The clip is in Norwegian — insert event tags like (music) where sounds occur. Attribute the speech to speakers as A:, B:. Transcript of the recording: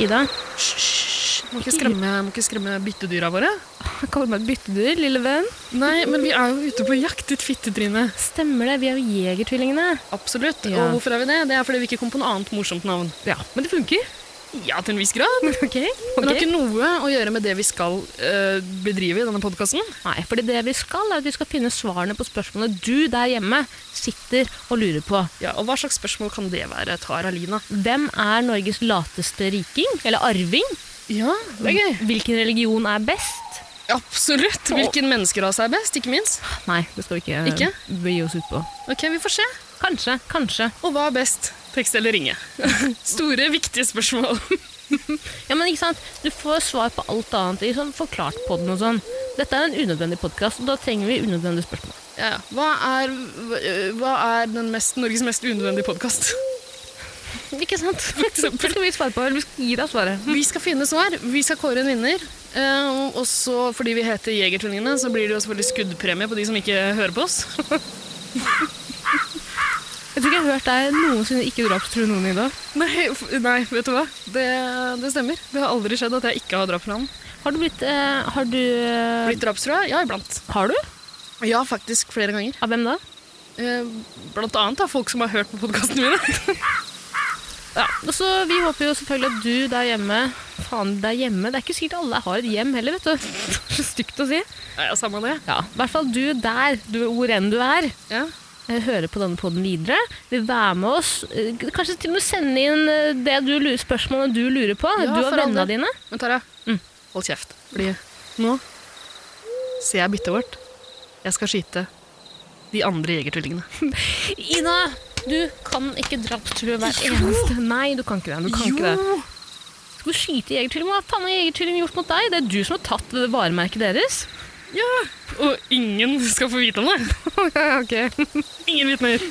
A: Ida,
B: Hysj, må ikke skremme, må ikke skremme byttedyra våre.
A: jeg kaller meg et byttedyr, lille venn.
B: Nei, men vi er jo ute på jakt, ditt fittetryne.
A: Stemmer det, vi er jo jegertvillingene.
B: Absolutt.
A: Ja.
B: Og hvorfor er vi det? Det er fordi vi ikke kom på noe annet morsomt navn.
A: Ja.
B: Men det
A: (laughs)
B: funker. Ja, til en viss grad.
A: Ok,
B: Men det har ikke noe å gjøre med det vi skal eh, bedrive i denne podkasten.
A: Nei, fordi det vi skal, er at vi skal finne svarene på spørsmålene du der hjemme sitter og lurer på.
B: Ja, og hva slags spørsmål kan det være, Tara Lina?
A: Hvem er Norges lateste riking? Eller arving?
B: Ja, det er gøy.
A: Hvilken religion er best?
B: Absolutt. Hvilken menneskerase er best, ikke minst?
A: Nei, det skal vi ikke, eh,
B: Ikke?
A: begi oss ut på.
B: Ok, vi får se.
A: Kanskje, kanskje.
B: Og hva er best? Tekst eller (laughs) ringe? Store, viktige spørsmål.
A: Ja, men ikke sant? Du får svar på alt annet i sånn forklart podden og sånn. Dette er en unødvendig podkast, og da trenger vi unødvendige spørsmål.
B: Ja, ja. hva, er, hva er den mest, Norges mest unødvendige podkast?
A: Ikke sant? Det skal vi svare på, eller vi skal gi deg svaret.
B: Vi skal finne svar. Vi skal kåre en vinner. Eh, og så, fordi vi heter Jegertvillingene, så blir det jo selvfølgelig skuddpremie på de som ikke hører på oss. (laughs)
A: Jeg tror ikke jeg har hørt deg noensinne ikke drapstrue noen i dag.
B: Nei, f- nei vet du hva? Det, det stemmer. Det har aldri skjedd at jeg ikke har drapsplan.
A: Har du blitt eh, Har du eh,
B: Blitt drapstrua? Ja, iblant.
A: Har du?
B: Ja, faktisk flere ganger.
A: Av hvem da?
B: Eh, blant annet av folk som har hørt på podkastene mine.
A: Ja, og så Vi håper jo selvfølgelig at du der hjemme Faen, der hjemme. Det er ikke sikkert alle har et hjem heller, vet du. (laughs) Så stygt å si.
B: Nei, (laughs) ja, samme det.
A: Ja, I hvert fall du der, du, hvor enn du er,
B: Ja.
A: eh, hører på denne poden videre. Vil være med oss. eh, Kanskje til og med sende inn eh, det du lurer, spørsmålene du lurer på.
B: Ja,
A: du og
B: for
A: vennene
B: all del.
A: dine.
B: Men Tara, hold kjeft. Fordi nå ser jeg byttet vårt. Jeg skal skyte de andre jegertvillingene.
A: Ina, du kan ikke drapstrue hver eneste Nei, du kan ikke det. Du kan ikke det. Skal du skyte jegertvilling? Hva faen har jegertvilling gjort mot deg? Det er du som har tatt det varemerket deres.
B: Og ingen skal få vite om det.
A: ok.
B: Ingen vitner.